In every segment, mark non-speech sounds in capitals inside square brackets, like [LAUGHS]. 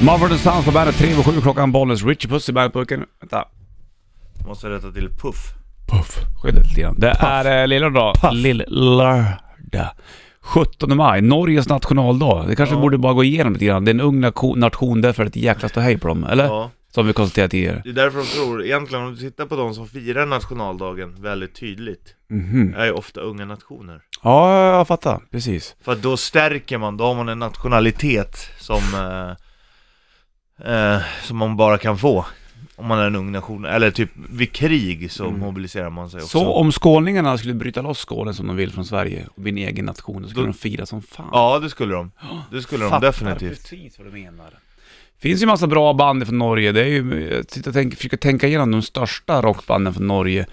Mumford Sons på bandet, 3 över 7 klockan, Bollnäs, Richie Puss i bandetburken. Vänta. Måste rätta till puff. Puff. Skydda lite grann. Det är eh, lillördag. Lillördag. 17 maj, Norges nationaldag. Det kanske Ja. borde bara gå igenom lite grann. Det är en ung nako- nation, därför är det ett jäkla ståhej på dem. Eller? Ja. Som vi konstaterade tidigare. Det är därför de tror, egentligen om du tittar på de som firar nationaldagen väldigt tydligt, Mhm. är ju ofta unga nationer. Ja, jag fattar. Precis. För att då stärker man, då har man en nationalitet som, eh, eh, som man bara kan få. Om man är en ung nation, eller typ vid krig så mobiliserar man sig också. Mm. Så om skåningarna skulle bryta loss Skåne som de vill från Sverige och bli en egen nation, då skulle Då- de fira som fan. Ja, det skulle de. Det skulle de Fattar definitivt. precis vad du menar. finns ju massa bra band från Norge. Det är ju, jag sitter och tänker, försöker tänka igenom de största rockbanden från Norge.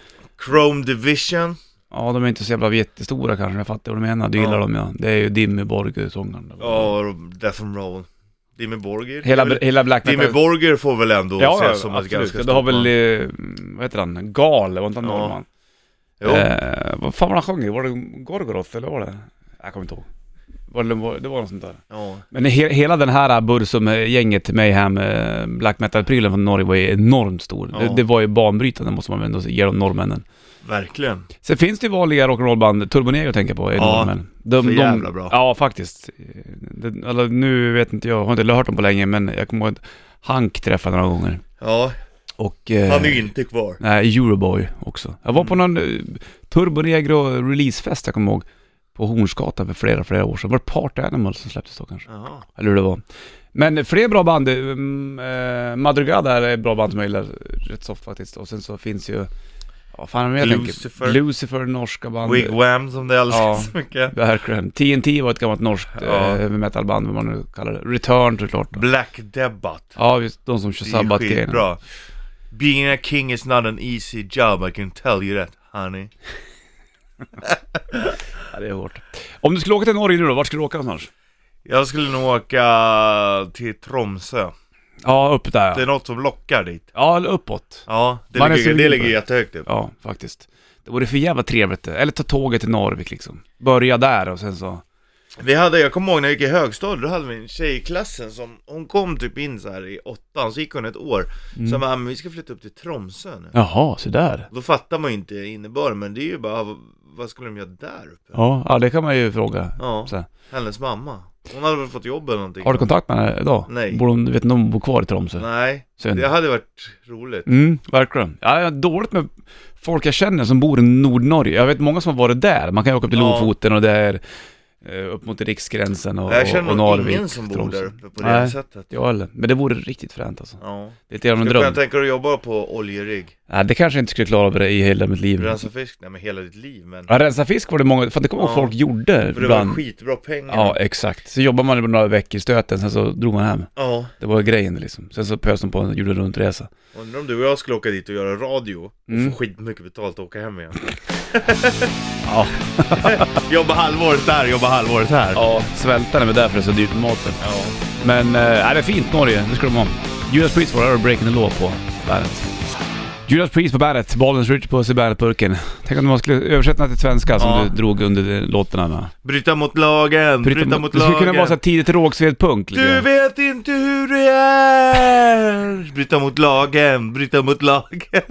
Chrome Division. Ja, de är inte så jävla jättestora kanske, men jag fattar vad du menar. Du Ja. gillar dem ja. Det är ju Dimmy Borgir, sångaren. Ja, Death and Roll. Dimmy Borgir. Hela, Det är väl- hela Black Dimmy Borgir får väl ändå Ja, ja ses som ett absolut. ganska Ja, det har stort väl, namn. eh, vad heter han, Gal, var inte han Ja. norrman? Jo. Eh, vad fan var han sjöng i? Var det Gorgoroth eller vad var det? Jag kommer inte ihåg. Var det, var, det var något sånt där. Ja. Men he, hela den här Bursum-gänget, Mayhem, eh, Black Metal-prylen från Norge var ju enormt stor. Ja. Det, det var ju banbrytande måste man väl ändå ge de norrmännen. Verkligen. Sen finns det ju vanliga rock'n'roll-band, Turbonego tänker jag på, är Ja, norrmän. De, så jävla bra. Ja, faktiskt. Det, eller, nu vet inte jag, har inte hört dem på länge, men jag kommer ihåg att Hank träffade några gånger. Ja, Och... eh, han är ju Mm. inte kvar. Nej, Euroboy också. Jag var på någon eh, Turbo Negro releasefest, jag kommer ihåg, på Hornsgatan för flera, flera år sedan. Var det Part Animal som släpptes då kanske? Jaha. Eller hur det var. Men fler bra band, mm, eh, Madrugada är ett bra band som jag gillar rätt soft faktiskt. Och sen så finns ju, ja fan vad jag Lucifer. tänker, Lucifer, norska band. Wigwam som det älskar Ja. så mycket. Verkligen. TNT var ett gammalt norskt Ja. eh, metalband, vad man nu kallar det. Return såklart. då. Black Debbat. Ja, just de som kör Det är sabbat-grejerna. skitbra. Being a king is not an easy job, I can tell you that honey. Ja, det är hårt. Om du skulle åka till Norge nu då, vart skulle du åka någonstans? Jag skulle nog åka till Tromsö. Ja, upp där Det ja. är något som lockar dit. Ja, eller uppåt. Ja, det Man är ligger, sugen det på ligger det. jättehögt upp. Ja, faktiskt. Det vore för jävla trevligt det. Eller ta tåget till Narvik liksom. Börja där och sen så... Vi hade, jag kommer ihåg när jag gick i högstadiet, då hade vi en tjej i klassen som, hon kom typ in så här i åttan, så gick hon ett år. Mm. Så jag bara, "Ah, men vi ska flytta upp till Tromsö nu. Jaha, så där. Då fattar man ju inte innebörden, men det är ju bara, "Ah, vad skulle de göra där uppe? Ja, ja det kan man ju fråga. Ja, Så här. hennes mamma. Hon hade väl fått jobb eller någonting? Har du kontakt med henne idag? Nej. Bor hon, vet ni om hon bor kvar i Tromsö? Nej, Synd. det hade varit roligt. Mm, verkligen. Ja, jag har dåligt med folk jag känner som bor i Nordnorge. Jag vet många som har varit där. Man kan ju åka upp till Ja. Lofoten och där eh, upp mot riksgränsen och, jag och känner nog Narvik. ingen som bor Tromsö. där uppe på det Nej. sättet. Ja. Ja, eller. Men det vore riktigt fränt alltså. ja. Det är lite grann en Skulle dröm. kunna tänka dig att jobba på oljerigg? Nej, det kanske jag inte skulle klara av det i hela mitt liv. Rensa fisk? Nej men hela ditt liv men... Mm. Ja, rensa fisk var det många, för det kommer ihåg Ja. folk gjorde För det var ibland. skitbra pengar. Ja, exakt. Så jobbar man några veckor i stöten, sen så drog man hem. ja. Det var grejen liksom. Sen så pös de på en jorden runt-resa. Undrar om du och jag skulle åka dit och göra radio och Mm. få skitmycket betalt och åka hem igen. Ja. jobba halvåret där, jobba halvåret här. Ja, svältande men därför är det så dyrt med maten. Ja. Men äh, det är fint Norge, det ska de ha. Judas Priest var det, Breaking the Law på bandet. Judas Priest på bandet, Bollens Rich på sig bandet-burken. Tänk om man skulle översätta den till svenska Ja. som du drog under eh, låten här. Bryta mot lagen, bryta, mot Det lagen. skulle kunna vara så här tidigt Rågsved-punk. liksom. lite Du grann. vet inte hur det är! Bryta mot lagen, bryta mot lagen.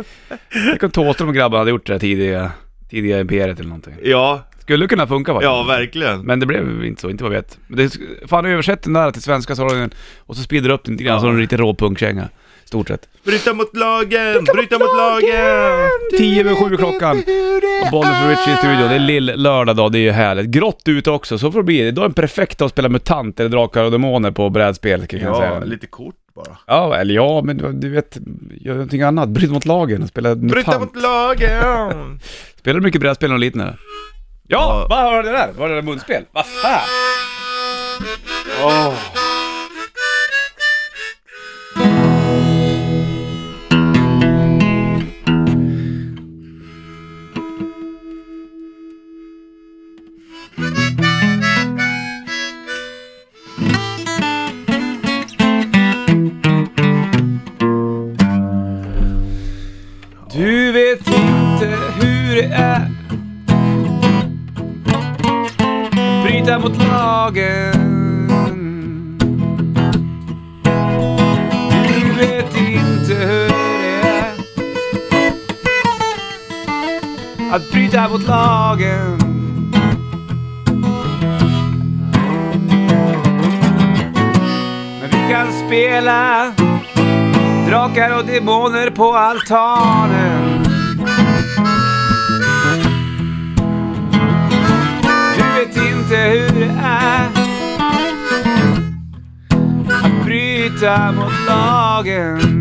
[LAUGHS] Tänk om Thåström och grabbarna hade gjort det här tidiga, tidiga imperiet eller någonting. Ja, Skulle kunna funka faktiskt. ja verkligen. Men det blev inte så, inte vad jag vet. Men det, fan översätt den där till svenska så har du den, och så sprider du upp den lite grann så har du en riktig råpunkkänga. Stort sett. Bryta mot lagen, bryta mot lagen! Tio över sju klockan. Och Bollnäs och Richie i studion. Det är lill-lördag då, det är ju härligt. Grått ute också, så får det bli. Idag är en perfekt dag att spela MUTANT eller Drakar och Demoner på brädspel kan jag Ja, säga. lite kort bara. Ja, eller ja, men du, du vet, gör någonting annat. Bryt mot lagen och spela Bryta MUTANT. mot lagen! Spelar du mycket brädspel när du var liten eller? Ja, Ja. vad var det där? Var det där munspel? Vad fan? Åh. Du vet inte hur det är Bryta mot lagen att bryta mot lagen. Men vi kan spela drakar och demoner på altanen. Du vet inte hur det är att bryta mot lagen.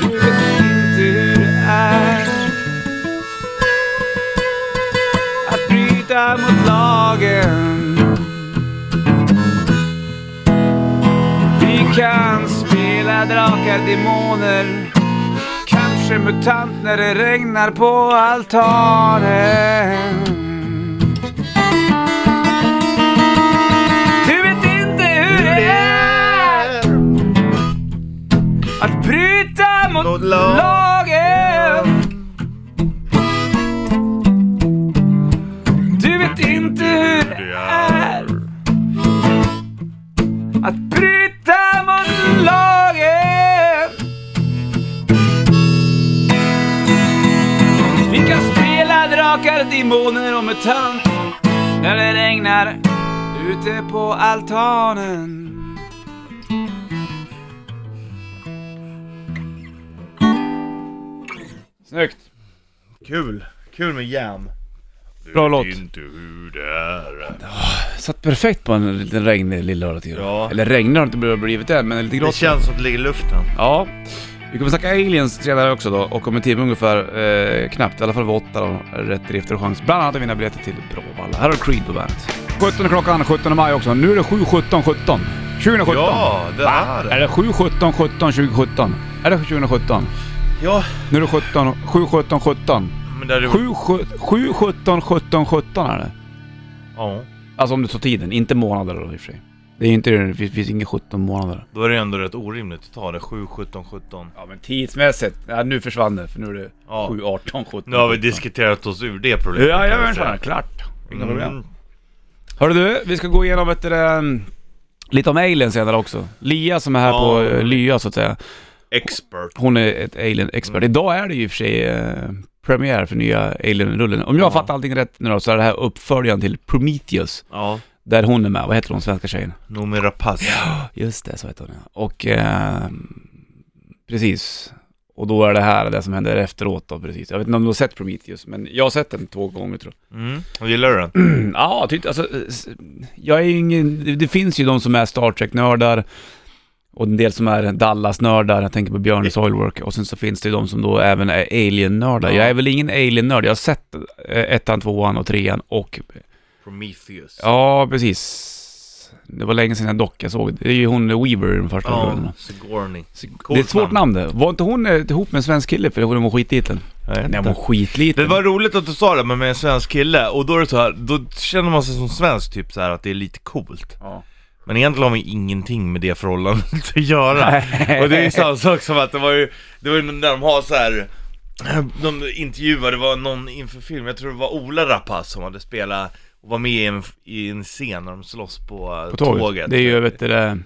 Du vet inte hur det är att bryta mot lagen. Vi kan spela drakar, demoner, kanske mutant när det regnar på altanen. Du vet inte hur det är att bryta mot, Mot lag- lagen. Du vet inte hur det är att bryta mot lagen. Vi kan spela drakar, demoner och mutant när det regnar ute på altanen. Snyggt! Kul, kul med jam. Bra låt. inte hur det är. Satt perfekt på en liten regnig lill-lördag till. Ja. Eller regnar har det inte blivit än, men lite Det grått. känns som att det ligger i luften. Ja. Vi kommer snacka aliens senare också då och om en timme ungefär, eh, knappt, i alla fall vid åtta då, är det rätt drift och chans. Bland annat att vinna biljetter till Bråvalla. Här har du Creed på bandet. 17 klockan, 17 maj också. Nu är det 7, 17, 17. 2017. Ja, det Va? är det. Är det 7, 17, 17, 2017? Är det 2017? Ja, Nu är det 17, 7, 17, 17. men där är det... 7, 7, 17, 17, 17 är det. Ja, Alltså om du tar tiden, inte månader då i och för sig. Det är inte, det finns inga 17 månader. då är det ändå rätt orimligt att ta det. 7, 17, 17. Ja men tidsmässigt, ja, nu försvann det för nu är det Ja. 7, 18, 17. Nu har vi Mm. diskuterat oss ur det problemet. kan jag Jajamensan, säga. klart. Inga problem. Mm. Hörru du, vi ska gå igenom ett, um, lite om aliens senare också. Lia som är här Ja. på eh, Lya så att säga. Expert. Hon är ett alien-expert. Mm. Idag är det ju i och för sig eh, premiär för nya alien-rullen. Om jag Ja. fattar allting rätt nu då, så är det här uppföljaren till Prometheus. Ja, Där hon är med. Vad heter hon, svenska tjejen? Noomi Rapace. Just det, så heter hon ja. Och ehm, precis. Och då är det här det som händer efteråt då, precis. Jag vet inte om du har sett Prometheus, men jag har sett den två gånger tror jag. Mm. Och gillar du den? [CLEARS THROAT] Ja, tyckte, alltså, s- jag är ju ingen, det- det finns ju de som är Star Trek-nördar och en del som är Dallas-nördar, jag tänker på Björn Soilwork, och sen så finns det ju de som då även är Alien-nördar. Ja. Jag är väl ingen Alien-nörd, jag har sett eh, ettan, tvåan och trean och, Prometheus. ja precis. Det var länge sedan jag dock jag såg, det är ju hon Weaver i den första Ja, rollen. Sigourney. Det är ett svårt namn det. Var inte hon eh, ihop med en svensk kille för hon var skitliten? Nej, hon var Det skitliten. var roligt att du sa det, men med en svensk kille, och då är det så här, då känner man sig som svensk typ så här att det är lite coolt Ja. Men egentligen har vi ingenting med det förhållandet [LAUGHS] att göra Och det är ju samma sak som att det var ju, det var ju när de har så här [CLEARS THROAT] De intervjuade, det var någon inför film, jag tror det var Ola Rapace som hade spelat och var med i en, i en scen när de slåss på, På på tåget. tåget. Det är ju, vet du, det, är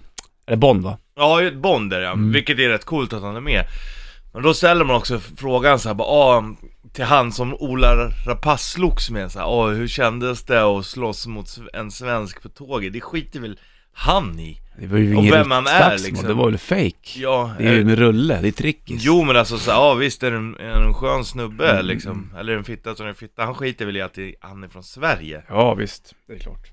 det Bond va? Ja, ju ett Bond där ja, Mm. vilket är rätt coolt att han är med. Men då ställer man också frågan så här, bara, ah, till han som Ola Rapace slogs med så här, ah, hur kändes det att slåss mot s- en svensk på tåget? Det skiter väl han i? Det var ju Och ingen vem riktigt man är, slagsmål, liksom. det var väl fake? Ja, Det är ju eh, en rulle, det är trickis. Jo men alltså så, ja visst är det en, en skön snubbe Mm. liksom, eller en fitta som är en fitta, han skiter väl i att det- han är från Sverige Ja, visst. Det är klart.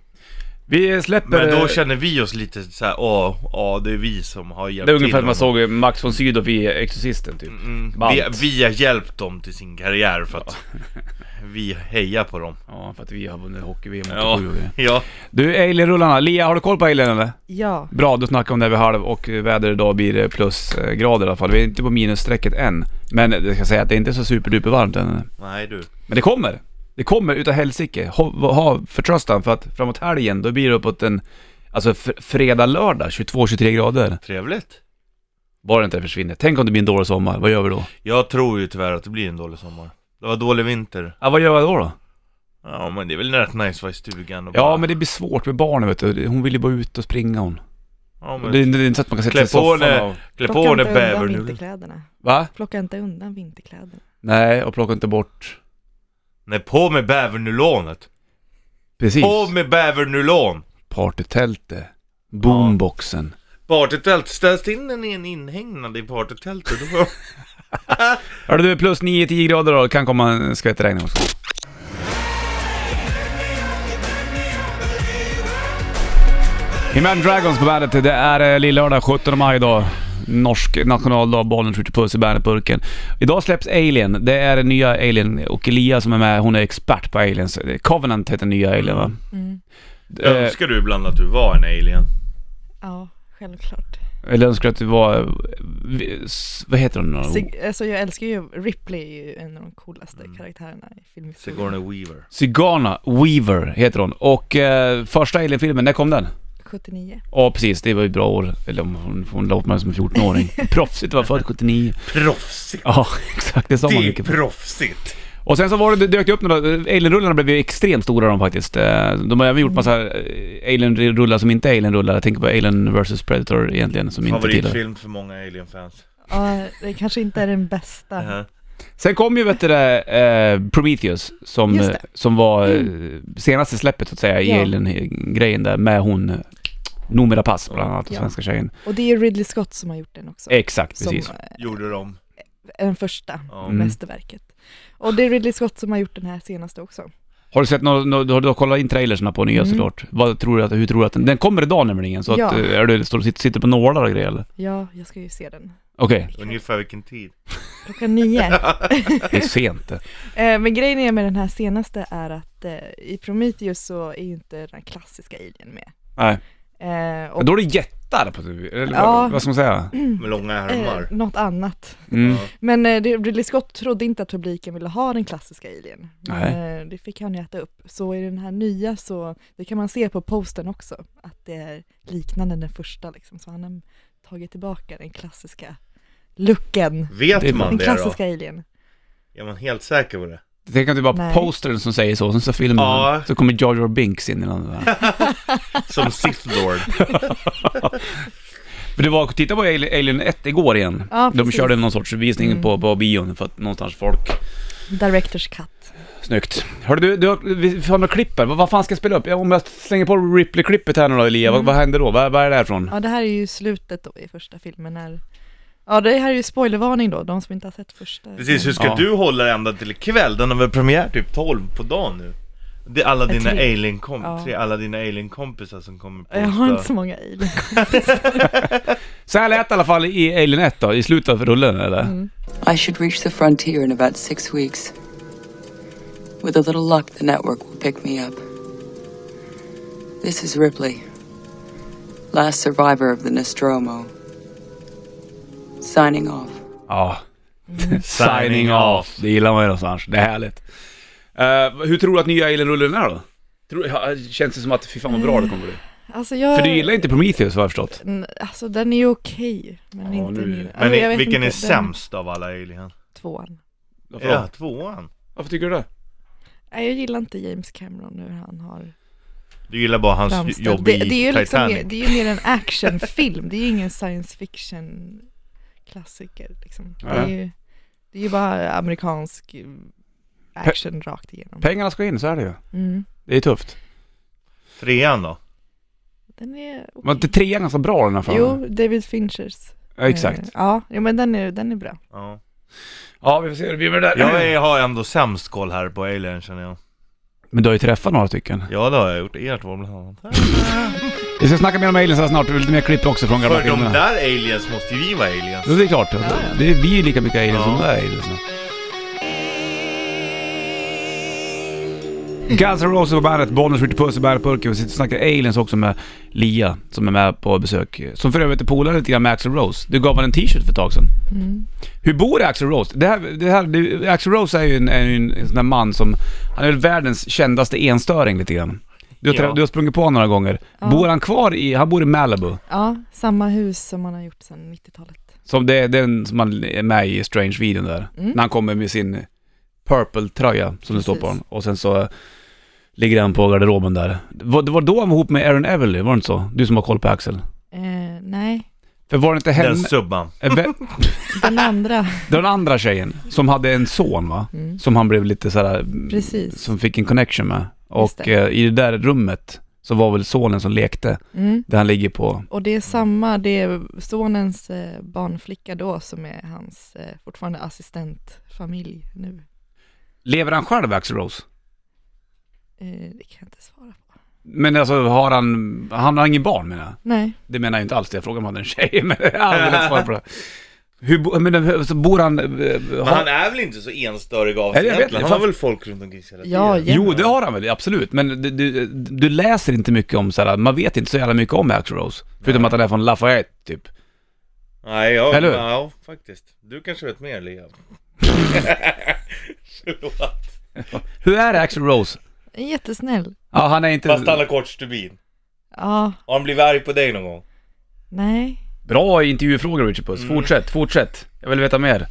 Vi släpper... Men då eh, känner vi oss lite så här, åh, ja det är vi som har hjälpt det är ungefär till som man honom. såg Max von Sydow i Exorcisten typ. Mm, Balt. vi, vi har hjälpt dem till sin karriär för att [LAUGHS] vi hejar på dem Ja, för att vi har vunnit hockey-VM Ja, 87 och grejer. ja. Du, Alien-rullarna. Lia, har du koll på Alien eller? Ja. Bra, du snackade om det vid halv och väder idag blir det plusgrader i alla fall. Vi är inte på minusstrecket än. Men jag ska säga att det är inte så superduper varmt än. Nej du. Men det kommer! Det kommer utav helsike. Ha, ha förtröstan för att framåt helgen då blir det uppåt en... Alltså fr- fredag, lördag 22-23 grader. Trevligt. Bara det inte försvinner. Tänk om det blir en dålig sommar, vad gör vi då? Jag tror ju tyvärr att det blir en dålig sommar. Det var dålig vinter. Ja, vad gör vi då då? Ja men det är väl rätt nice att vara i stugan och Ja, bara... men det blir svårt med barnen vet du. Hon vill ju bara ut och springa hon. Ja, Det, men, det är inte så att man kan sätta sig klä i på soffan och... henne, klä på henne bävernullen. vinterkläderna. Va? Plocka inte undan vinterkläderna. Nej, och plocka inte bort... Nej, på med bävernulonet. Precis. På med bävernulon. Partytältet. Boomboxen. Partytält, ställs in den i en inhägnad i partytältet. då får- Hörru du, plus 9-10 grader då. Det kan komma en skvätt regn också. Imagine Dragons på bandet. Det är eh, lillördag 17 maj idag. Norsk nationaldag, bollen skjuter puss i bandetburken. Idag släpps Alien. Det är den nya Alien och Elia som är med, hon är expert på aliens. Covenant heter den nya Alien va? Mm. Eh, Önskar du ibland att du var en alien? Ja, självklart. Eller önskar att det var... eh, vi- s- Vad heter hon? Sig- alltså jag älskar ju, Ripley är ju en av de coolaste karaktärerna i Sigourney filmhistorien. Weaver. Sigourney Weaver heter hon. Och eh, första Alien-filmen, när kom den? 79. Ja precis, det var ju bra år. Eller om hon, hon la upp mig som en [LAUGHS] 14-åring. Proffsigt var född 79. Proffsigt. Ja, [LAUGHS] exakt. Det sa Det man är mycket på. proffsigt. Och sen så var det, det dök det upp några, Alien-rullarna blev ju extremt stora de faktiskt. Eh, De har även gjort massa eh, Alien-rullar som inte är Alien-rullar. Jag tänker på Alien vs Predator egentligen, som inte tillhör. Favoritfilm för många alien-fans. Ja, det kanske inte är [LAUGHS] den bästa. Uh-huh. Sen kom ju vet du det, eh, Prometheus som, Just eh, det. Mm. som var eh, senaste släppet så att säga i Ja. Alien-grejen där med hon eh, Noomi Rapace bland annat, Ja. svenska tjejen. Och det är Ridley Scott som har gjort den också. Exakt, som precis. eh, Gjorde de. är den första, Ja. Mm. mästerverket. Och det är Ridley Scott som har gjort den här senaste också. Har du sett någon, någon, har du kollat in trailersna på nya Mm. såklart? Vad tror du att, hur tror du att den, den kommer idag nämligen så Ja. att, eh, är du, står, sitter, sitter på nålar och grejer eller? Ja, jag ska ju se den. Okej, Ungefär vilken tid? Klockan nio. det är sent [LAUGHS] det. Eh, Men grejen är med den här senaste är att eh, i Prometheus så är ju inte den klassiska alien med. Nej. Eh, Men och då är det jättar på eller, Ja. vad, vad ska man säga? Med långa eh, armar. något annat. Mm. Ja. Men eh, det- Ridley Scott trodde inte att publiken ville ha den klassiska alien. Nej. Men eh, det fick han ju äta upp. Så i den här nya så, det kan man se på posten också, att det är liknande den första liksom. Så han har tagit tillbaka den klassiska looken. Det är Vet Den man det då? klassiska alien. Är man helt säker på det? Tänk att det bara Nej. postern som säger så, sen så filmen, Ja. så kommer Jar Jar Binks in i någon Som Sith Lord. För det var, titta på Alien Alien 1 igår igen. Ja, De precis. Mm. körde någon sorts visning på, på bion för att någonstans folk... Directors cut. Snyggt. Hörru du, du har, vi har några klipp här. Vad, vad fan ska jag spela upp? Ja, Om jag slänger på Ripley-klippet här nu då Elia, Mm. vad, vad händer då? Vad, vad är det här från? Ja, det här är ju slutet då i första filmen när Ja, det här är ju spoilervarning då, de som inte har sett första. Precis, hur ska Ja. du hålla det ända till ikväll? Den har väl premiär typ 12 på dagen nu? Det är alla Tre. dina alien kom Ja. tre, alla dina alien-kompisar som kommer på Jag har inte så många alien. Så här lät det i alla fall i Alien 1 då, i slutet av rullen eller? Mm. I should reach the frontier in about six weeks. With a little luck, the network will pick me up. This is Ripley, last survivor of the Nostromo. Signing off. Ja. [LAUGHS] Mm. Signing off. Det gillar man ju någonstans. Det är härligt. Eh, hur tror du att nya Alien-rullen är då? Tror, ja, känns det som att, fy fan vad bra det kommer bli? Alltså jag... För du gillar inte Prometheus har jag förstått. Mm, Alltså den är ju okej, men Ja, inte nu- min. Men Alltså, jag i- vet vilken inte, är den- sämst av alla alien? Tvåan. Varför, då? Ja, tvåan. Varför tycker du det? Nej, jag gillar inte James Cameron hur han har Du gillar bara hans framställt. jobb det, i det är ju liksom, Titanic. det är ju mer en actionfilm, det är ju ingen science fiction klassiker liksom. Det är Nej. ju, det är ju bara amerikansk eh, action rakt igenom. Pengarna ska in, så är det ju. Mm. Det är tufft. Trean då? Den är okej. Var inte trean ganska bra den här fan? Jo, David Finchers. Ja, exakt. Eh, Ja, jo, men den är, den är bra. Ja. Ja, vi får se hur det blir med det där. Jag är, har ändå sämst koll här på alien känner jag. Men du har ju träffat några stycken. Ja det har jag gjort, er två bland annat. Vi ska snacka mer om aliens här snart, det blir lite mer klipp också från gamla För de filmerna. där aliens måste ju vi vara aliens. Jo, det är klart. Det är, vi är ju lika mycket aliens Ja. som de är aliens. Guns N' Roses på bandet, Bonniers Ritchie Puss i bandetburken. Vi sitter och snackar aliens också med Lia som är med på besök. Som för övrigt är polare lite grann med Axl Rose. Du gav honom en t-shirt för ett tag sedan. Mm. Hur bor Axl Rose? Det här, det här, det, Axl Rose är ju en, är ju en, en sån där man som... Han är väl världens kändaste enstöring lite grann. Du har, trä- Ja. du har sprungit på honom några gånger. Bor han kvar i... Han bor i Malibu. Ja, samma hus som man har gjort sedan 90-talet. Som det, den som han är med i Strange-videon där. När han kommer med sin purple-tröja som det står på Mm. Precis. honom. Och sen så eh, ligger han på garderoben där. Det var, det var då han var ihop med Aaron Everly, var det inte så? Du som har koll på Axel. Eh, Nej, För var det inte Den henne... subban. eh, ve- den andra. Den andra tjejen som hade en son va? Mm. Som han blev lite såhär... Precis. Som fick en connection med. Just Och det. eh, i det där rummet så var väl sonen som lekte, Mm. där han ligger på... Och det är samma, det är sonens eh, barnflicka då som är hans eh, fortfarande assistentfamilj nu. Lever han själv Axl Rose? Eh, det kan jag inte svara på. Men alltså har han... Han har ingen barn menar jag. Nej, Det menar jag inte alls, jag frågar om han är en tjej. [LAUGHS] Men jag har aldrig velat svara på det. Hur bo, men, hur- så bor han... eh, har- Men han är väl inte så enstörig av Nej, sig jag vet egentligen? inte. Han har väl folk runt omkring sig hela Ja, tiden? ja. Jo, det har han väl, absolut. Men du, du, du läser inte mycket om såhär, man vet inte så jävla mycket om Axl Rose. Förutom att han är från Lafayette, typ. Nej, ja, Eller hur? ja, faktiskt. Du kanske vet mer, Lea. [LAUGHS] Förlåt. Hur är Axl Rose? en jättesnäll. Ja, han är inte... Fast han har kort stubin. Ja, Har han blivit arg på dig någon gång? nej. Bra intervjufrågor Richard Puss. Fortsätt, fortsätt. Jag vill veta mer. Mm.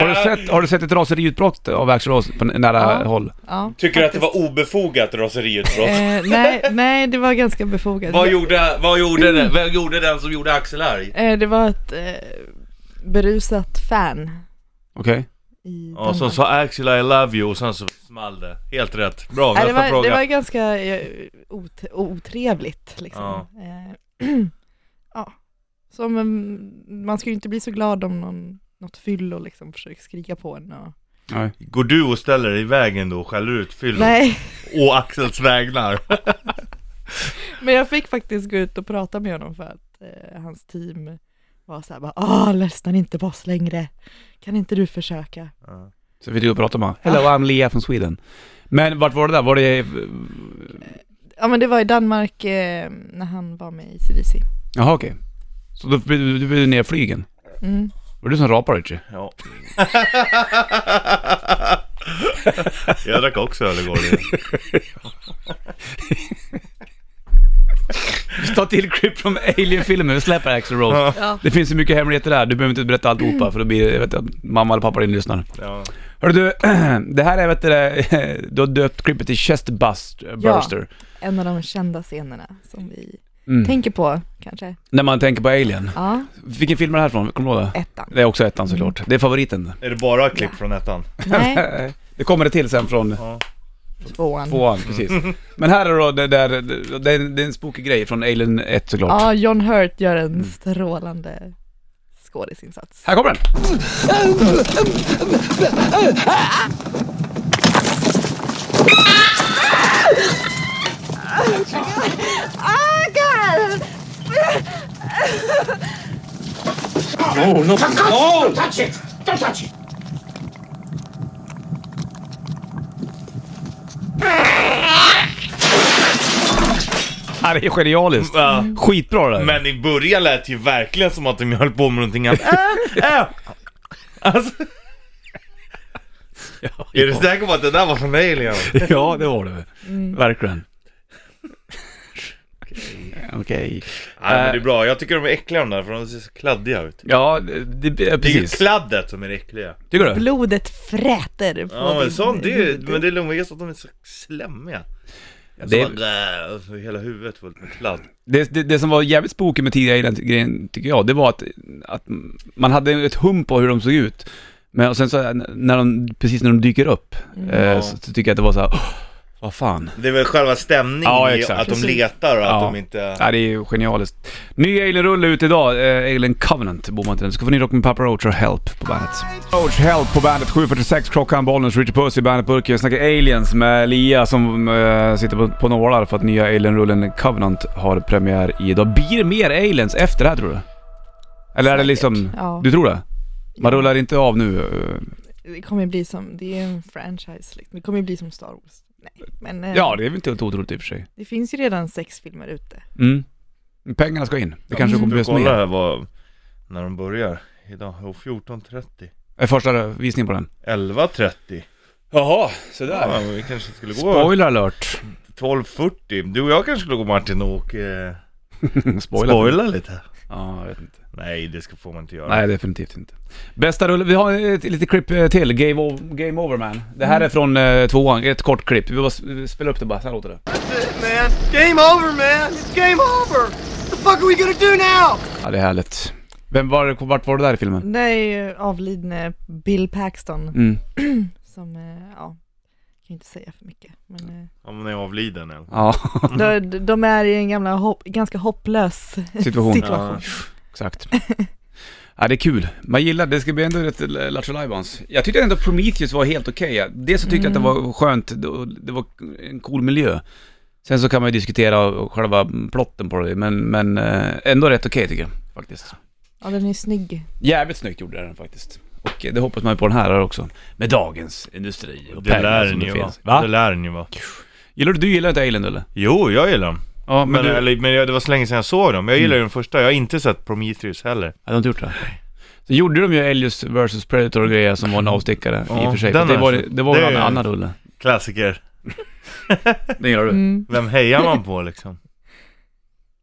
Har du sett, har du sett ett raseriutbrott av Axl Rose på n- nära Ja. håll? Ja, Tycker du att det faktiskt. var obefogat raseriutbrott? Eh, nej, nej, det var ganska befogat. [LAUGHS] Vad gjorde, vad gjorde, den, vad gjorde den som gjorde Axel arg? Eh, det var ett eh, berusat fan Okej. i Ja, som Danmark. sa Axel I love you och sen så small det. Helt rätt. Bra, Nej, det, nästa var, det fråga. var ganska eh, ot otrevligt liksom. Ja. Eh, [CLEARS THROAT] ja. Som, en- man ska ju inte bli så glad om någon, något fyllo liksom försöker skrika på en och... Nej. Går du och ställer dig i vägen då och skäller ut fyllon? Nej, Å Axels vägnar. men jag fick faktiskt gå ut och prata med honom för att eh, hans team var såhär bara ah, ledsnar inte på oss längre. Kan inte du försöka? Så vi tog och pratade med honom. Hello, I'm Lea från Sweden. Men vart var det där? Var det... Ja men det var i Danmark eh, när han var med i CDC. Jaha, okej. Så då blev du, du blev nerflygen? Mm. Var det du som rapade Richie? Ja. [LAUGHS] Jag drack också öl igår. Ta till klipp från Alien-filmen, vi släpper Axl Rose. Ja. Det finns ju mycket hemligheter där, du behöver inte berätta alltihopa för då blir jag vet, att mamma eller pappa din lyssnar. Ja. Mm. Hörru du, [CLEARS THROAT] det här är vet du, det, [CLEARS THROAT] du har döpt klippet till Chest Bust- Burster. En av de kända scenerna som vi Mm. tänker på kanske. När man tänker på Alien. Ja, Vilken film är det här från? Kommer du ihåg det? Eh. ettan. [LAUGHS] Det är också ettan såklart. Mm. Det är favoriten. Är det bara klipp från ettan? Nej, Det kommer det till sen från tvåan. tvåan, [LAUGHS] precis. Men här är då det där, det, det, är en- det är en spooky grej från Alien 1 såklart. Ja, John Hurt gör Mm. en strålande skådisinsats. Här kommer den! Oh God! Ja, det är genialiskt. Ja. Skitbra det där. Men i början lät det ju verkligen som att de höll på med någonting annat. Äh, äh. [LAUGHS] Alltså, [LAUGHS] är du säker på att det där var från Alien? [LAUGHS] Ja, det var det. Mm. [LAUGHS] Verkligen. Okej. Nej men det är bra, jag tycker de är äckliga de där för de ser så kladdiga ut. Ja, det, det, Det är ju precis. kladdet som är det äckliga. Tycker du? Blodet fräter på Ja men din sånt, det är ju, hud. men det är logiskt att de är så slemmiga. Ja, det- det... Så bara, blä, hela huvudet fullt med kladd. Det, det, det som var jävligt spooky med tidigare den grejen, tycker jag, det var att, att man hade ett hum på hur de såg ut. Men och sen så, när de, precis när de dyker upp, eh, så, så tycker jag att det var så här, "Åh, vad fan. Det är väl själva stämningen Ja, i exakt. att de Precis. letar och Ja. att de inte... Ja, det är ju genialiskt. Ny Alien-rulle ut idag, eh, Alien Covenant, bor man till den. Ska få ny rock med Papa Roach och Help på bandet. Roach Help på bandet, 7.46 klockan, Bollnäs, Richard Puss i bandet-burken. Jag snackar aliens med Lia som eh, sitter på, på nålar för att nya Alien-rullen Covenant har premiär i idag. Blir det mer aliens efter det här tror du? Eller är det Säkert, liksom... ja. Du tror det? Man rullar inte av nu? eh. Det kommer bli som, det är en franchise liksom. Det kommer bli som Star Wars. Nej, men eh, Ja, det är väl inte helt otroligt i och för sig. det finns ju redan sex filmer ute. Mm. Pengarna ska in. Det kanske Mm. kommer Du behövas kolla mer. här vad, när de börjar idag, Jo, 14.30. Eh, Första visningen på den. 11.30. Jaha, sådär. Ja, men vi kanske skulle gå Spoiler alert. 12.40. Du och jag kanske skulle gå Martin och eh, Spoiler. spoila lite. Ja, jag vet inte. Nej, det ska får man inte göra. Nej, definitivt inte. Bästa rulle, vi har ett litet klipp eh, till, Game, o- Game Over Man. Det Mm. här är från eh, tvåan, ett kort klipp. Vi bara s- vi spelar upp det bara, så här låter det. That's it, man. Game over, man. It's game over. What the fuck are we gonna do now? Ja, det är härligt. Vem var det, vart var det där i filmen? Det är ju avlidne Bill Paxton Mm. som, eh, ja, jag kan inte säga för mycket. Men, [LAUGHS] eh, Om man är avliden än. Ja, [LAUGHS] de, de är i en gamla hopp, ganska hopplös Situation. situation. exakt. Ja, det är kul. Man gillar, det ska bli ändå rätt Lattjo Lajbans. Jag tyckte ändå Prometheus var helt okej. Dels så tyckte jag att det var skönt, det- det var en cool miljö. Sen så kan man ju diskutera själva plotten på det, men, men eh, ändå rätt okej tycker jag faktiskt. Ja, den är snygg. Jävligt snyggt gjorde den faktiskt. Och eh, det hoppas man ju på den här också. Med dagens industri och Det pengar lär som den det ju finns. va? Det Va? lär den ju va? Gillar du, du gillar inte Alien eller? Jo, jag gillar dem. Ja, Men, eller, men jag- det var så länge sedan jag såg dem. Jag gillar Mm. ju den första, jag har inte sett Prometheus heller. Ja, de har inte gjort det. Så gjorde de ju Aliens vs Predator och grejer som var en avstickare i Ja, och för sig. den Det har var, jag sett. det var väl Det en är- annan rulle. Klassiker. Den gillar du? Mm. Vem hejar man [LAUGHS] på liksom?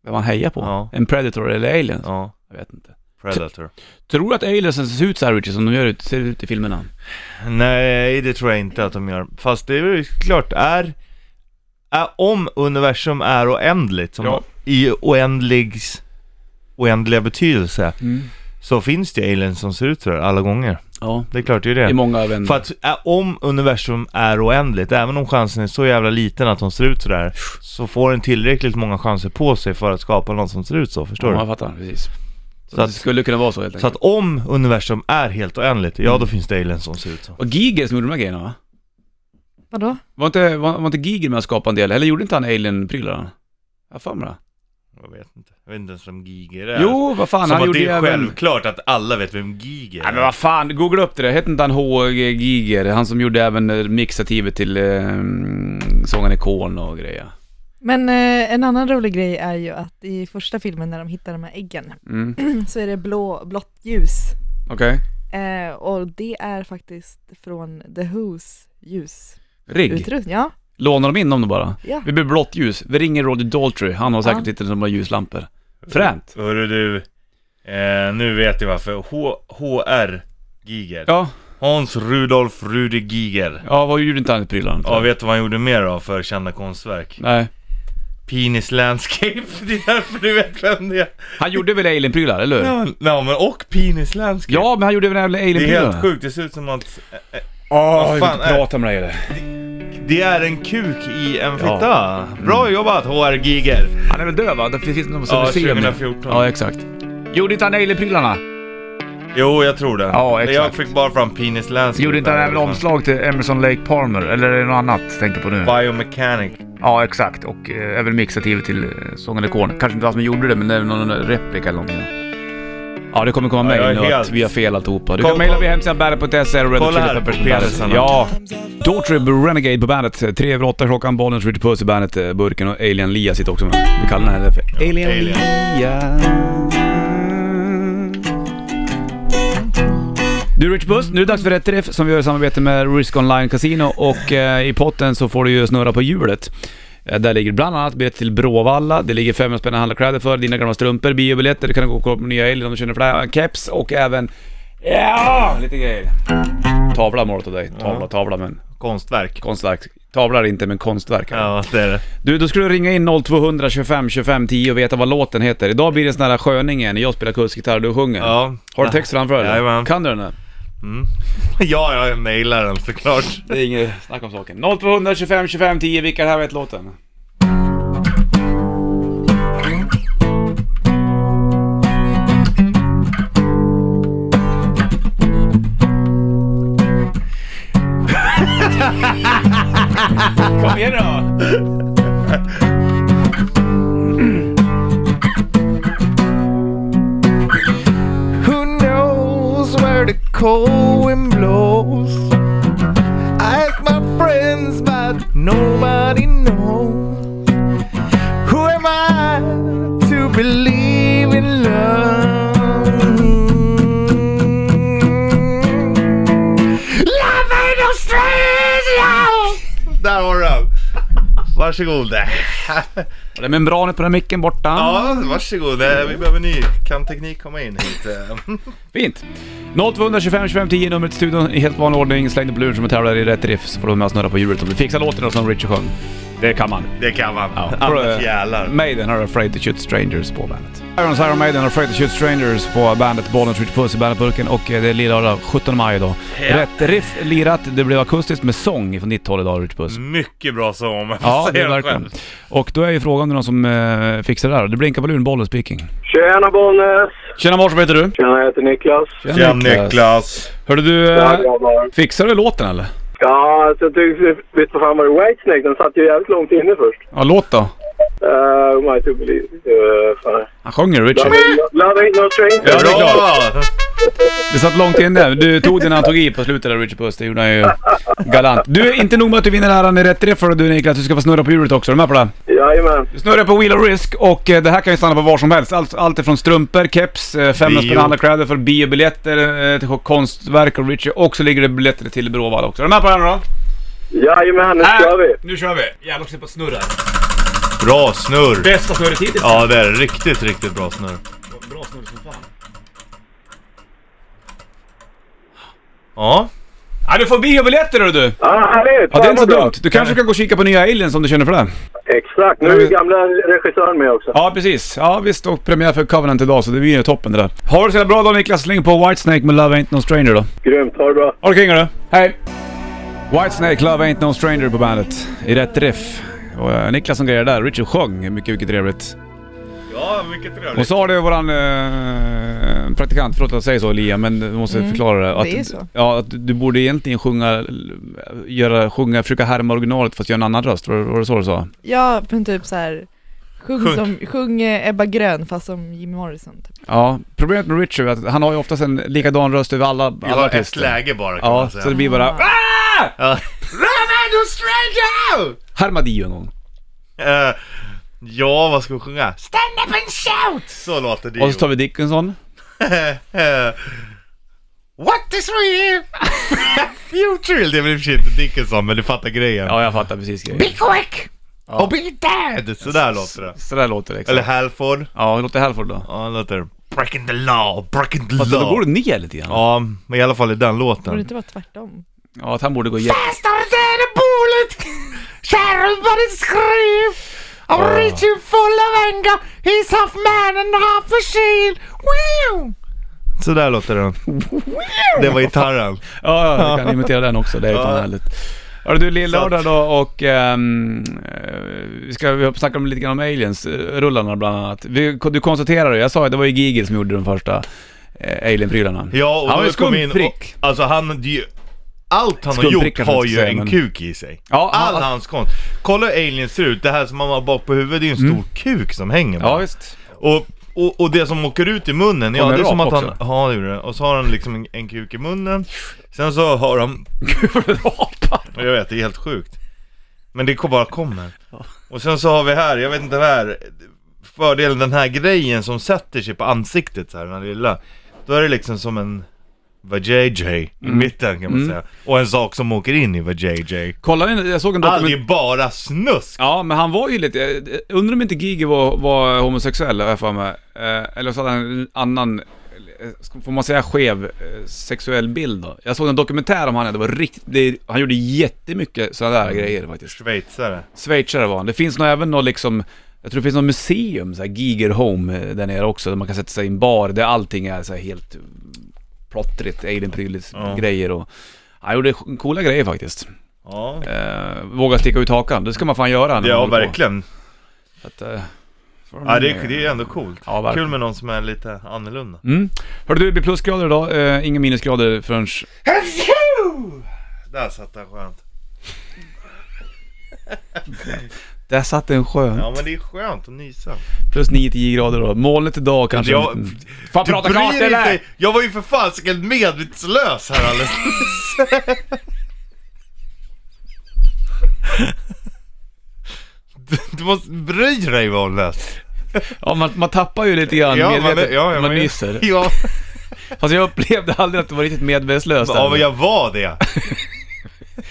Vem man hejar på? Ja. En Predator eller Aliens? Ja, Jag vet inte. Predator. Tror du att Aliensen ser ut så här Richie, som de gör ut, ser ut i filmerna? Nej, det tror jag inte att de gör. Fast det är väl klart, är, är om universum är oändligt, som Ja. i oändligs oändliga betydelse, Mm. så finns det aliens som ser ut sådär alla gånger. Ja, Det är klart det är det. i många av en... För att ä, om universum är oändligt, även om chansen är så jävla liten att de ser ut sådär, så får den tillräckligt många chanser på sig för att skapa någon som ser ut så, förstår Ja, jag du? fattar. Precis. Så, Så att, att- det skulle kunna vara så helt Så enkelt. att om universum är helt oändligt, ja Mm. då finns det aliens som ser ut så. Och Giger som gjorde de här grejerna va? Vadå? Var inte, var, var inte Giger med att skapa en del? Eller gjorde inte han Alien-prylarna? Jag har för mig det. Jag vet inte, jag vet inte ens vem Giger är. Jo, vad fan, Som han att gjorde det är även- självklart att alla vet vem Giger Nej men vad fan, googla upp det där. Hette inte han H.G. Giger? Han som gjorde även eh, mixativet till eh, sången i Korn och grejer. Men eh, en annan rolig grej är ju att i första filmen när de hittar de här äggen [CLEARS THROAT] Mm. så är det blå, blått ljus. Okej. Eh, och det är faktiskt från The Who's ljusutrustning. Rigg. Ja, Lånar de in dem då bara? ja. Vi blir blått ljus. Vi ringer Roger Daltrey. Han har säkert Ja. hittat de här ljuslampor. Fränt. Hörru du, eh, nu vet jag varför. H- HR Giger. Ja, Hans Rudolf Rudi Giger. ja vad gjorde inte han i prylarna? Ja, vet du vad han gjorde mer av för kända konstverk? Nej. Penis Landscape, [LAUGHS] det är därför du vet vem det är. Han gjorde väl Alien-prylar, eller hur? Ja. Ja, men- ja men och Penis Landscape. men han gjorde väl även det är Alien-prylarna? helt sjukt, det ser ut som att... eh, eh, Åh, Vad jag vill fan inte är- prata med dig eller? Det är en kuk i en fitta. Mm. Bra jobbat HR Giger. Han är väl död va? Det finns någon som Ja, vill se honom. 2014. Ja, exakt. Gjorde inte han Alien-prylarna? Jo, jag tror det. Ja, exakt. Jag fick bara fram Penis Landscape. Gjorde inte han där även i alla fall. omslag till Emerson Lake Palmer? Eller är det något annat tänker på nu? Biomechanic. Ja, exakt. Och eh, även mixativet till eh, Sången i Korn. Kanske inte han som gjorde det, men det är någon replika eller någonting. Ja, det kommer komma Ja, jag mejl är nu att helt- vi har fel alltihopa. Du Kolla- kan mejla kolla- via hemsidan bandet.se och Red Hot Kolla Chili här på Peppers Bandet. penisarna. Ja. Daughtrib Renegade på bandet. Tre över åtta klockan, Bollnäs, Ritchie Puss i bandet, eh, Burken och Alien Lia sitter också med. Vi kallar den här för Alien, Alien. Lia. Du Rich Puss, nu är det dags för Rätt Riff som vi gör i samarbete med Risk Online Casino och eh, i potten så får du ju snurra på hjulet. Eh, Där ligger bland annat biljetter till Bråvalla, det ligger 500 spänn att handla kläder för, dina gamla strumpor, biobiljetter, du kan gå och kolla på nya Alien om du känner för det, här, en keps och även... Ja, lite grejer. Tavla målet av dig. Tavla, tavla men Konstverk. konstverk. Tavlar inte men konstverk. Ja, det är det. Du, då skulle du ringa in 0200 25 25 10 och veta vad låten heter. Idag blir det en sån här sköningen, jag spelar kursgitarr och du sjunger. Ja. Har du text framför dig? Jajamän. Kan du den där? Ja, jag mailar den såklart. Det är inget snack om saken. 0200 25 25 10, vilka här vet låten? [LAUGHS] Kom igen då! Who knows where the cold wind blows? I ask my friends, but nobody knows. Who am I to believe in love? Love ain't no strange love! Där har du den. Varsågod. Det är membranet på den micken borta. Ja, varsågod. Vi behöver ny. Kan teknik komma in hit? Fint. 0225 25 10 numret till studion i helt vanlig ordning. Släng dig på luren som tävlar i rätt riff så får du vara med och snurra på hjulet om du fixar låten då som Richard sjöng. Det kan man. Det kan man. Ja. Annars jävlar. Maiden har Afraid to Shoot Strangers på bandet. Irons Iron Maiden har Afraid to Shoot Strangers på bandet. Bollen Street Puss i bandetburken och eh, det lirar då 17 maj idag. Ja. Rätt riff lirat. Det blev akustiskt med sång från ditt håll idag Rich Puss. Mycket bra sång om jag får Ja, det säga är verkligen. själv. Och då är ju frågan till någon som eh, fixar det här. Det blinkar på luren, Bollen speaking. Tjena Bollnäs! Tjena mors, vad heter du? Tjena, jag heter Niklas. Tja Niklas! Hörde du, Ja, eh, grabbar. fixar du låten eller? Ja, alltså, jag tyckte visst vad fan var det Whitesnake? Den satt ju jävligt långt inne först. Ja, låt då. Uh, might to believe... Uh, fan. Han sjunger Richard. Love- Love ain't no stranger. Ja, det är Bra! Det satt långt inne. Du tog den han tog i på slutet där Richard Puss. Det gjorde han ju galant. Du, är inte nog med att du vinner äran i rätt riff för du Niklas. Du ska få snurra på hjulet också. Är du med på det? Jajamän. Du snurrar på Wheel of Risk och eh, det här kan ju stanna på var som helst. Allt, allt ifrån strumpor, keps, eh, 500 spänn Bio. underkläder för biobiljetter eh, till konstverk och Richard. Och så ligger det biljetter till Bråvalla också. Är du med på den då? Jajamän, nu Äh. kör vi! Nu kör vi! Jävlar slippa snurra. Bra snurr! Bästa snurret hittills. Ja det är riktigt, riktigt bra snurr. Bra snurr som fan. Ja. Ja, du får biobiljetter hör du! Ja, härligt! Ja, det är Fan, inte så vad bra. dumt. Du kanske ska gå och kika på nya Aliens om du känner för det. Exakt, nu Ja, är vi- gamla regissören med också. Ja, precis. Ja, visst. Och premiär för Covenant idag, så det blir ju toppen det där. Ha det så jävla bra då Niklas. Släng på Whitesnake med Love Ain't No Stranger då. Grymt, ha det bra! Ha det kring du. Hej! Whitesnake, Love Ain't No Stranger på bandet. I rätt riff. Och, eh, Niklas som grejer där. Richard sjöng. Mycket, mycket trevligt. Ja, mycket trevligt. Och så har det våran eh, praktikant, förlåt att jag säger så Lia, men vi måste Mm, förklara det. Att, det är så. Ja, att du borde egentligen sjunga, göra, sjunga, försöka härma originalet fast göra en annan röst. Var, var det så du sa? Ja, men typ så här. Sjung, Sjung. Som, sjung eh, Ebba Grön fast som Jim Morrison typ. Ja, problemet med Richard är att han har ju oftast en likadan röst över alla, Vi alla har ett artister. läge bara kan Ja, man säga. så det blir bara Ja. stranger! härma Dio en gång. Eh, ja, vad ska vi sjunga? Stand up and shout! Så låter det Och så tar vi Dickinson. Eh, What is real? [LAUGHS] Future! Det är väl i och för sig inte Dickinson, men du fattar grejen. Ja, jag fattar precis grejen. quick! Och be dead! Sådär låter det. Så där låter det liksom. Eller Halford. Ja, hur låter Halford då? Ja, det låter... Breaking the law, breaking the Fast då law. går det ner lite grann. Ja, men i alla fall i den Borde det låten. inte vara tvärtom? Ja, att han borde gå igen. Faster than a bullet! Sheriff but it's scream! I'm Ah. reaching full of anger! He's half man and half machine! Wow! Så där låter den. Det var gitarren. Ja, ja, du kan imitera den också. Det är fan härligt. Hörru du, lill-lördag då och ehm, eh, vi ska vi snacka om lite grann om aliens-rullarna bland annat. Vi, du konstaterade ju, jag sa ju, det var ju Gigil som gjorde de första eh, alien-prylarna. Ja, och han var då ju kom in skum prick. och, Alltså han, det är ju, allt han har Skum prick gjort kanske har man ju ska säga, en men- kuk i sig. Ja, All han- hans konst. Kolla hur aliens ser ut, det här som man har bak på huvudet, det är ju en stor kuk som hänger Mm. Ja, bara. [LAUGHS] visst. och, och, och det som åker ut i munnen, ja Kom det en är som rap att han, också? ja det gjorde det. Och så har han liksom en, en kuk i munnen, sen så har han, Gud vad du apar. och jag vet det är helt sjukt. Men det kom- bara kommer. Och sen så har vi här, jag vet inte vad det är, fördelen den här grejen som sätter sig på ansiktet så här, den här lilla. Då är det liksom som en vajayjay i Mm. mitten kan man säga. Och en sak som åker in i vajayjay. Kolla, in- jag såg en Allt dokumentär. är bara snusk! Ja, men han var ju lite... eh, Undrar om inte Gigi var, var homosexuell, har jag för mig. Eh, eller så hade han en annan, eh, ska- får man säga skev, eh, sexuell bild då. Jag såg en dokumentär om han, det var rikt, det, han gjorde jättemycket sådana där grejer faktiskt. Schweizare. Schweizare var han. Det finns nog även något liksom, jag tror det finns något museum, så här Giger Home, eh, där nere också, där man kan sätta sig i en bar där allting är så här helt eh, plottrigt, alien-pryligt grejer och... Han gjorde coola grejer faktiskt. Ja, Eh, våga sticka ut hakan, det ska man fan göra när man ja håller på. verkligen. Att, eh, får de Ja, in, det, eh, är- det är ändå coolt. Ja, verkligen. Kul med någon som är lite annorlunda. Mm. Hörru du, det blir plusgrader idag. Eh, inga minusgrader förrän... Där satt han skönt. Där satt en skön. Ja men det är skönt att nysa. Plus 9-10 grader då. Molnigt idag kanske. Jag- Mm. Fan Du prata bryr klart dig eller? inte! Jag var ju för fan säkert medvetslös här alldeles nyss. [LAUGHS] Du- Du måste bry dig Wahlnäs! Ja, man, man tappar ju lite grann medvetet när man nyser. [LAUGHS] Ja, Fast jag upplevde aldrig att du var riktigt medvetslös ja, men jag... jag var det.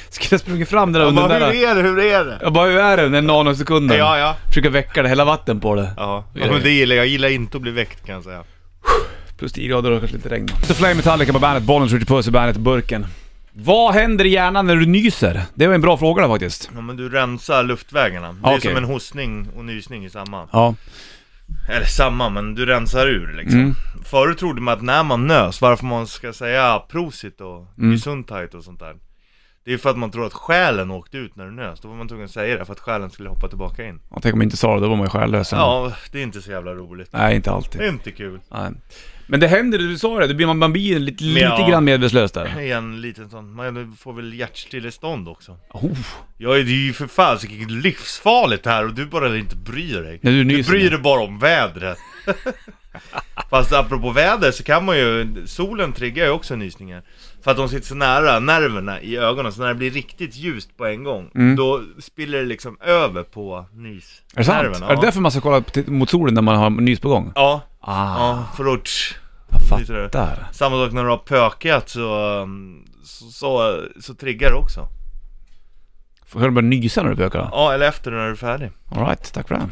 Skulle jag sprungit fram där Jag under bara, den där... hur är det, hur är det? Jag bara, hur är det? Den nanosekunden. Ja, ja. Försöka väcka det, hela vatten på det. Ja, ja men det gillar jag. Jag gillar inte att bli väckt kan jag säga. Plus 10 grader och kanske lite regn. The Flame Metallica på bandet, Bollens Ritchie Puss i bandet, burken. Vad händer i hjärnan när du nyser? Det var en bra fråga där faktiskt. Ja, men du rensar luftvägarna. Det Ah, är okej. som en hostning och nysning i samma. Ja. Eller samma, men du rensar ur liksom. Mm. Förut trodde man att när man nös, varför man ska säga prosit och gesundheit och sånt där. Det är för att man tror att själen åkte ut när du nös. Då var man tvungen att säga det för att själen skulle hoppa tillbaka in. Och tänk om jag inte sa det, då var man ju själlös. sen. Ja, det är inte så jävla roligt. Nej, inte Det alltid. är inte kul. Nej. Men det händer, du sa det, du blir, man, man blir lite, lite Ja. grann medvetslös där. Det är en liten sån, man får väl hjärtstillestånd också. Oh. Ja, det är ju för fasiken livsfarligt här och du bara inte bryr dig. När du Du nyser. bryr dig bara [LAUGHS] om vädret. Fast apropå väder så kan man ju, solen triggar ju också nysningar. För att de sitter så nära nerverna i ögonen, så när det blir riktigt ljust på en gång, då spiller det liksom över på nysnerverna. Mm. Är det sant? Är det Ja. därför man ska kolla upp till- mot solen när man har nys på gång? Ja, Ah, ja, för att... tsch, jag lite där. fattar. Samma sak när du har pökat så, um, så, så, så triggar det också. Får du börja nysa när du bökar? då? Ja, eller efter när du är färdig. All right, tack för det.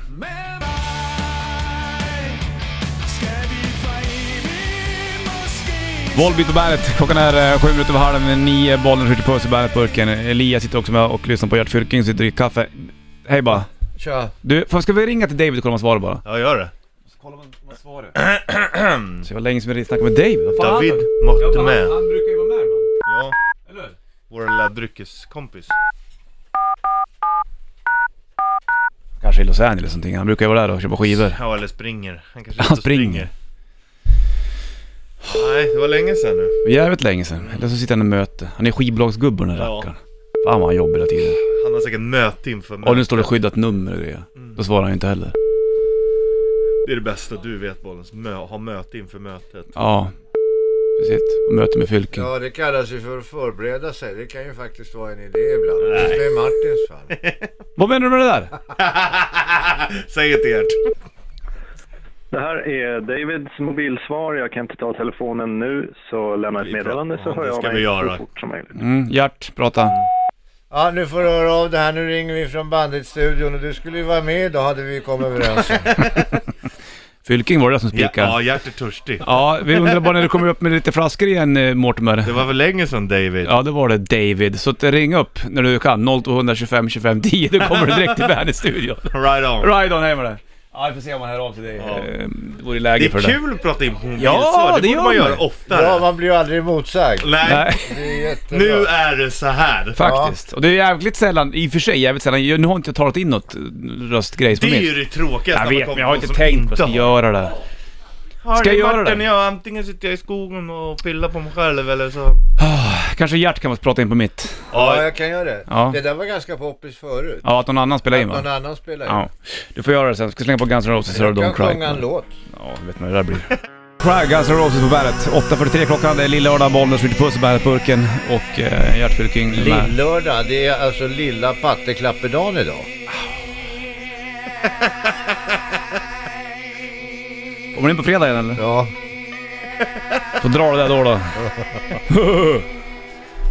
Volbeat och Bandet. Klockan är eh, sju minuter över halv nio. Bollen skjuter puss i Bandet-burken. Elias sitter också med och lyssnar på Gert Fylking, sitter och dricker kaffe. Hej bara. Tja. Du, får- ska vi ringa till David och kolla om han svarar bara? Ja, gör det. Kolla om han svarar. [CLEARS THROAT] Så det var länge sedan vi snackade med David. Vad fan? David Ja, måtte men med. Han brukar ju vara med man. Ja, Eller hur? vår lilla dryckeskompis. Kanske i Los Angeles eller någonting. Han brukar ju vara där och köpa skivor. Ja, eller springer. Han kanske är Han ute och springer. Nej, det var länge sedan nu. Jävligt länge sedan. Eller så sitter han i möte. Han är skivbolagsgubben den Ja. Mm. rackaren. Fan vad han jobbar hela tiden. Han har säkert möte inför mig. Och nu står det skyddat nummer och grejer. Mm. Då svarar han ju inte heller. Det är det bästa du vet Bollens, mö ha möte inför mötet. [LAUGHS] Ja. Precis. Och möte med Fylking. Ja, det kallas ju för att förbereda sig. Det kan ju faktiskt vara en idé ibland. Nej. Det är Martins [LAUGHS] fall. Vad menar du med det där? Säg det till Gert. Det här är Davids mobilsvar. Jag kan inte ta telefonen nu, så lämna ett Vi meddelande pratar så hör om det, jag ska av mig vi göra. så fort som möjligt. Mm, Gert, prata. Ja, nu får du höra av det här. Nu ringer vi från Banditstudion och du skulle ju vara med idag hade vi kommit överens [LAUGHS] om. Fylking var det som Ja, spikade. ja, Ja, Gert är törstig. vi undrar bara när du kommer upp med lite flaskor igen eh, Mortimer. Det var väl länge sedan David. Ja, det var det David. Så att ring upp när du kan. 0225 25 10. Då kommer du direkt till Bandet-studion. Right [LAUGHS] on. Ride on, hej med det. Ja, vi får se om han hör av sig. Det, Ja. eh, det vore Det läge för är det. kul att prata in på mobilsvar. Ja, det det gör borde man göra man. oftare. Ja, man blir ju aldrig motsagd. Nej, Nej. Det är jättebra. nu är det så här. Faktiskt. Och det är jävligt sällan, i och för sig jävligt sällan, jag- nu har inte jag talat in något eh, röstgrejs på Det är mitt. ju det tråkigaste Jag när man vet, kommer men jag har på inte som tänkt på att jag har. ska göra det. Hörni, Ska jag göra Martin, det? Jag, antingen sitter jag i skogen och pillar på mig själv eller så... Kanske Gert kan få prata in på mitt. Ja, jag kan göra det. Ja. Det där var ganska poppis förut. Ja, att någon annan spelar in Någon va? annan spelar in. Ja. Du får göra det sen. Ska slänga på Guns N' Roses och Jag Don't kan Cry. sjunga en låt. Ja, du vet man hur det där blir. Cry, Guns N' Roses på bandet. 8.43 klockan, det är lill-lördag, Bollnäs skjuter puss i bandet-burken och eh, Gert Fylking är med. Lillördag, det är alltså lilla patteklappedagen idag. Kommer du in på fredag igen eller? Ja, Får dra det där då då. [LAUGHS]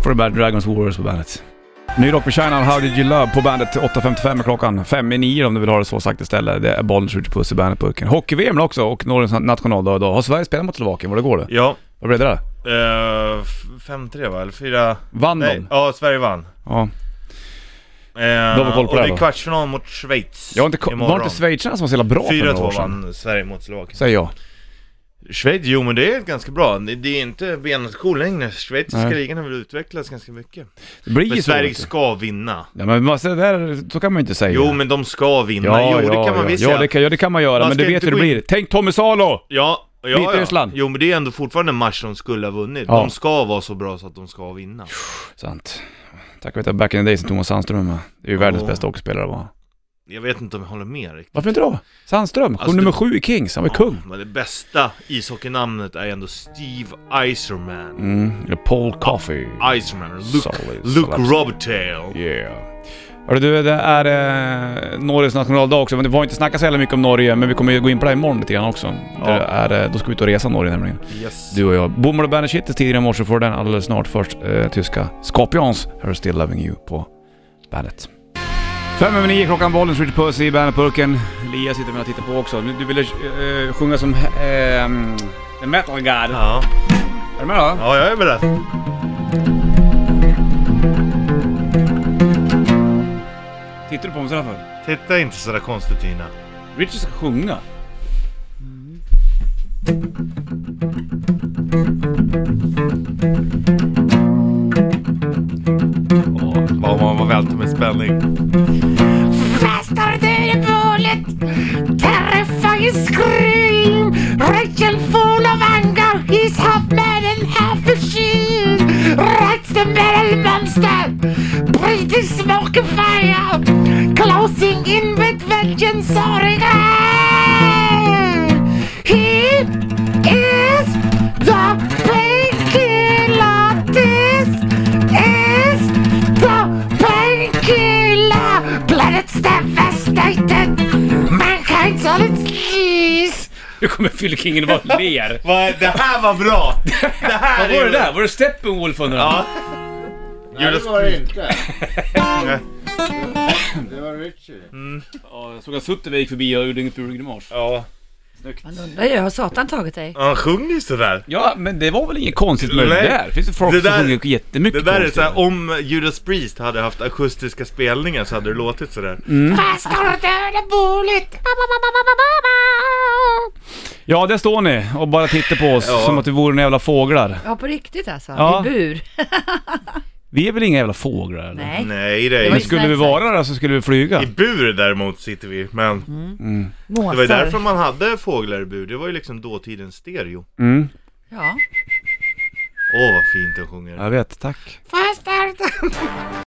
Får du bara Dragons Warriors på bandet. Ny rock med China, How Did You Love på bandet 8.55 är klockan. 5 i 9 om du vill ha det så sagt istället. Det är bollen skjuter puss i bandetburken. Hockey-VM också och Norges nationaldag idag. Har Sverige spelat mot Slovakien? Var det går det? Ja, Vad blev det där? eh, f- 5-3 va? Eller 4? Vann Nej, de? ja Sverige vann. Ja. Eh, Då har vi koll på och det det då. är kvartsfinal mot Schweiz Jag har inte ko- var imorgon. inte schweizarna som var så jävla bra för några år 4-2 sedan? vann Sverige mot Slovakien. Säger jag. Schweiz, jo men det är ganska bra. Det det är inte bensko längre. Schweiziska Nej. ligan har väl utvecklats ganska mycket. Det blir Men ju så. Sverige vet du. ska vinna. Ja men man- så, där, så kan man ju inte säga. Jo men de ska vinna. ja, jo det ja, kan man ja. visst ja, säga. det kan, ja det kan man göra, Man men ska du vet inte hur det gå in- blir. Tänk Tommy Salo! Ja, ja, ja. Vitryssland. Jo men det är ändå fortfarande en match de skulle ha vunnit. Ja. De ska vara så bra så att de ska vinna. Sant. Tack vare att Back in the Days som Thomas Sandström är med. Det är ju världens Ja. bästa hockeyspelare va? Jag vet inte om jag håller med riktigt. Varför inte då? Sandström, Alltså, kom nummer det- sju i Kings, han var ju kung. Men det bästa ishockeynamnet är ändå Steve Iserman. Mm, eller Paul Coffey. Iserman, Luke, Solid, Luke solid. Robitaille. Yeah. Hörru du, det är eh, Norges nationaldag också, men det var inte snackat så jävla mycket om Norge, men vi kommer ju gå in på det här imorgon lite grann också. Ja. Det är, eh, då ska vi ut och resa Norge nämligen. Yes. Du och jag. Bommade Bandet Shitlist tidigare i morse, får den alldeles snart. Först eh, tyska Scorpions, Her Still Loving You på Bandet. Fem över nio klockan, bollen skjuter puss i Bandetburken. Elias sitter med och tittar på också. Du, du ville eh, sjunga som eh, The Metal God. Ja. Är du med då? ja, jag är beredd. tittar du på mig sådär för? Titta inte sådär konstigt Tina. Richard ska sjunga. Åh, vad man var väntar med spänning. Fastnar du i målet Träffar i skrin Röken full av anger Is half man and half machine Writes the metal monster Breathing smoke and fire Closing in with vengeance soaring high He is the painkiller This is the painkiller Planets devastated Mankind's all its knees Nu kommer Fyllekingen och [LAUGHS] bara ler. Vad, det här var bra! Det här Vad är- var det där? Var det Steppenwolf undrar jag? Ja. Nej, det var det [LAUGHS] inte. Det var Richard. Ja, Jag såg att Sutter gick förbi och gjorde en ful grimas. Ja. Man undrar ju, har Satan tagit dig? Han sjunger ju sådär. Ja, men det var väl inget konstigt med det Nej. där? Finns det folk Det som där- sjunger Det jättemycket där är konstigt? såhär, om Judas Priest hade haft akustiska spelningar så hade det låtit sådär. Fast har du dödat bolet Ja, där står ni och bara tittar på oss Ja. som att vi vore några jävla fåglar. Ja, på riktigt alltså. Ja. I bur. Vi är väl inga jävla fåglar eller? Nej. Nej det Det är var Men ju- skulle vi vara där så skulle vi flyga. I bur däremot sitter vi, men det var ju därför man hade fåglar i bur. Det var ju liksom dåtidens stereo. Mm. Ja. Åh vad fint han sjunger. Jag vet, tack. Fast har du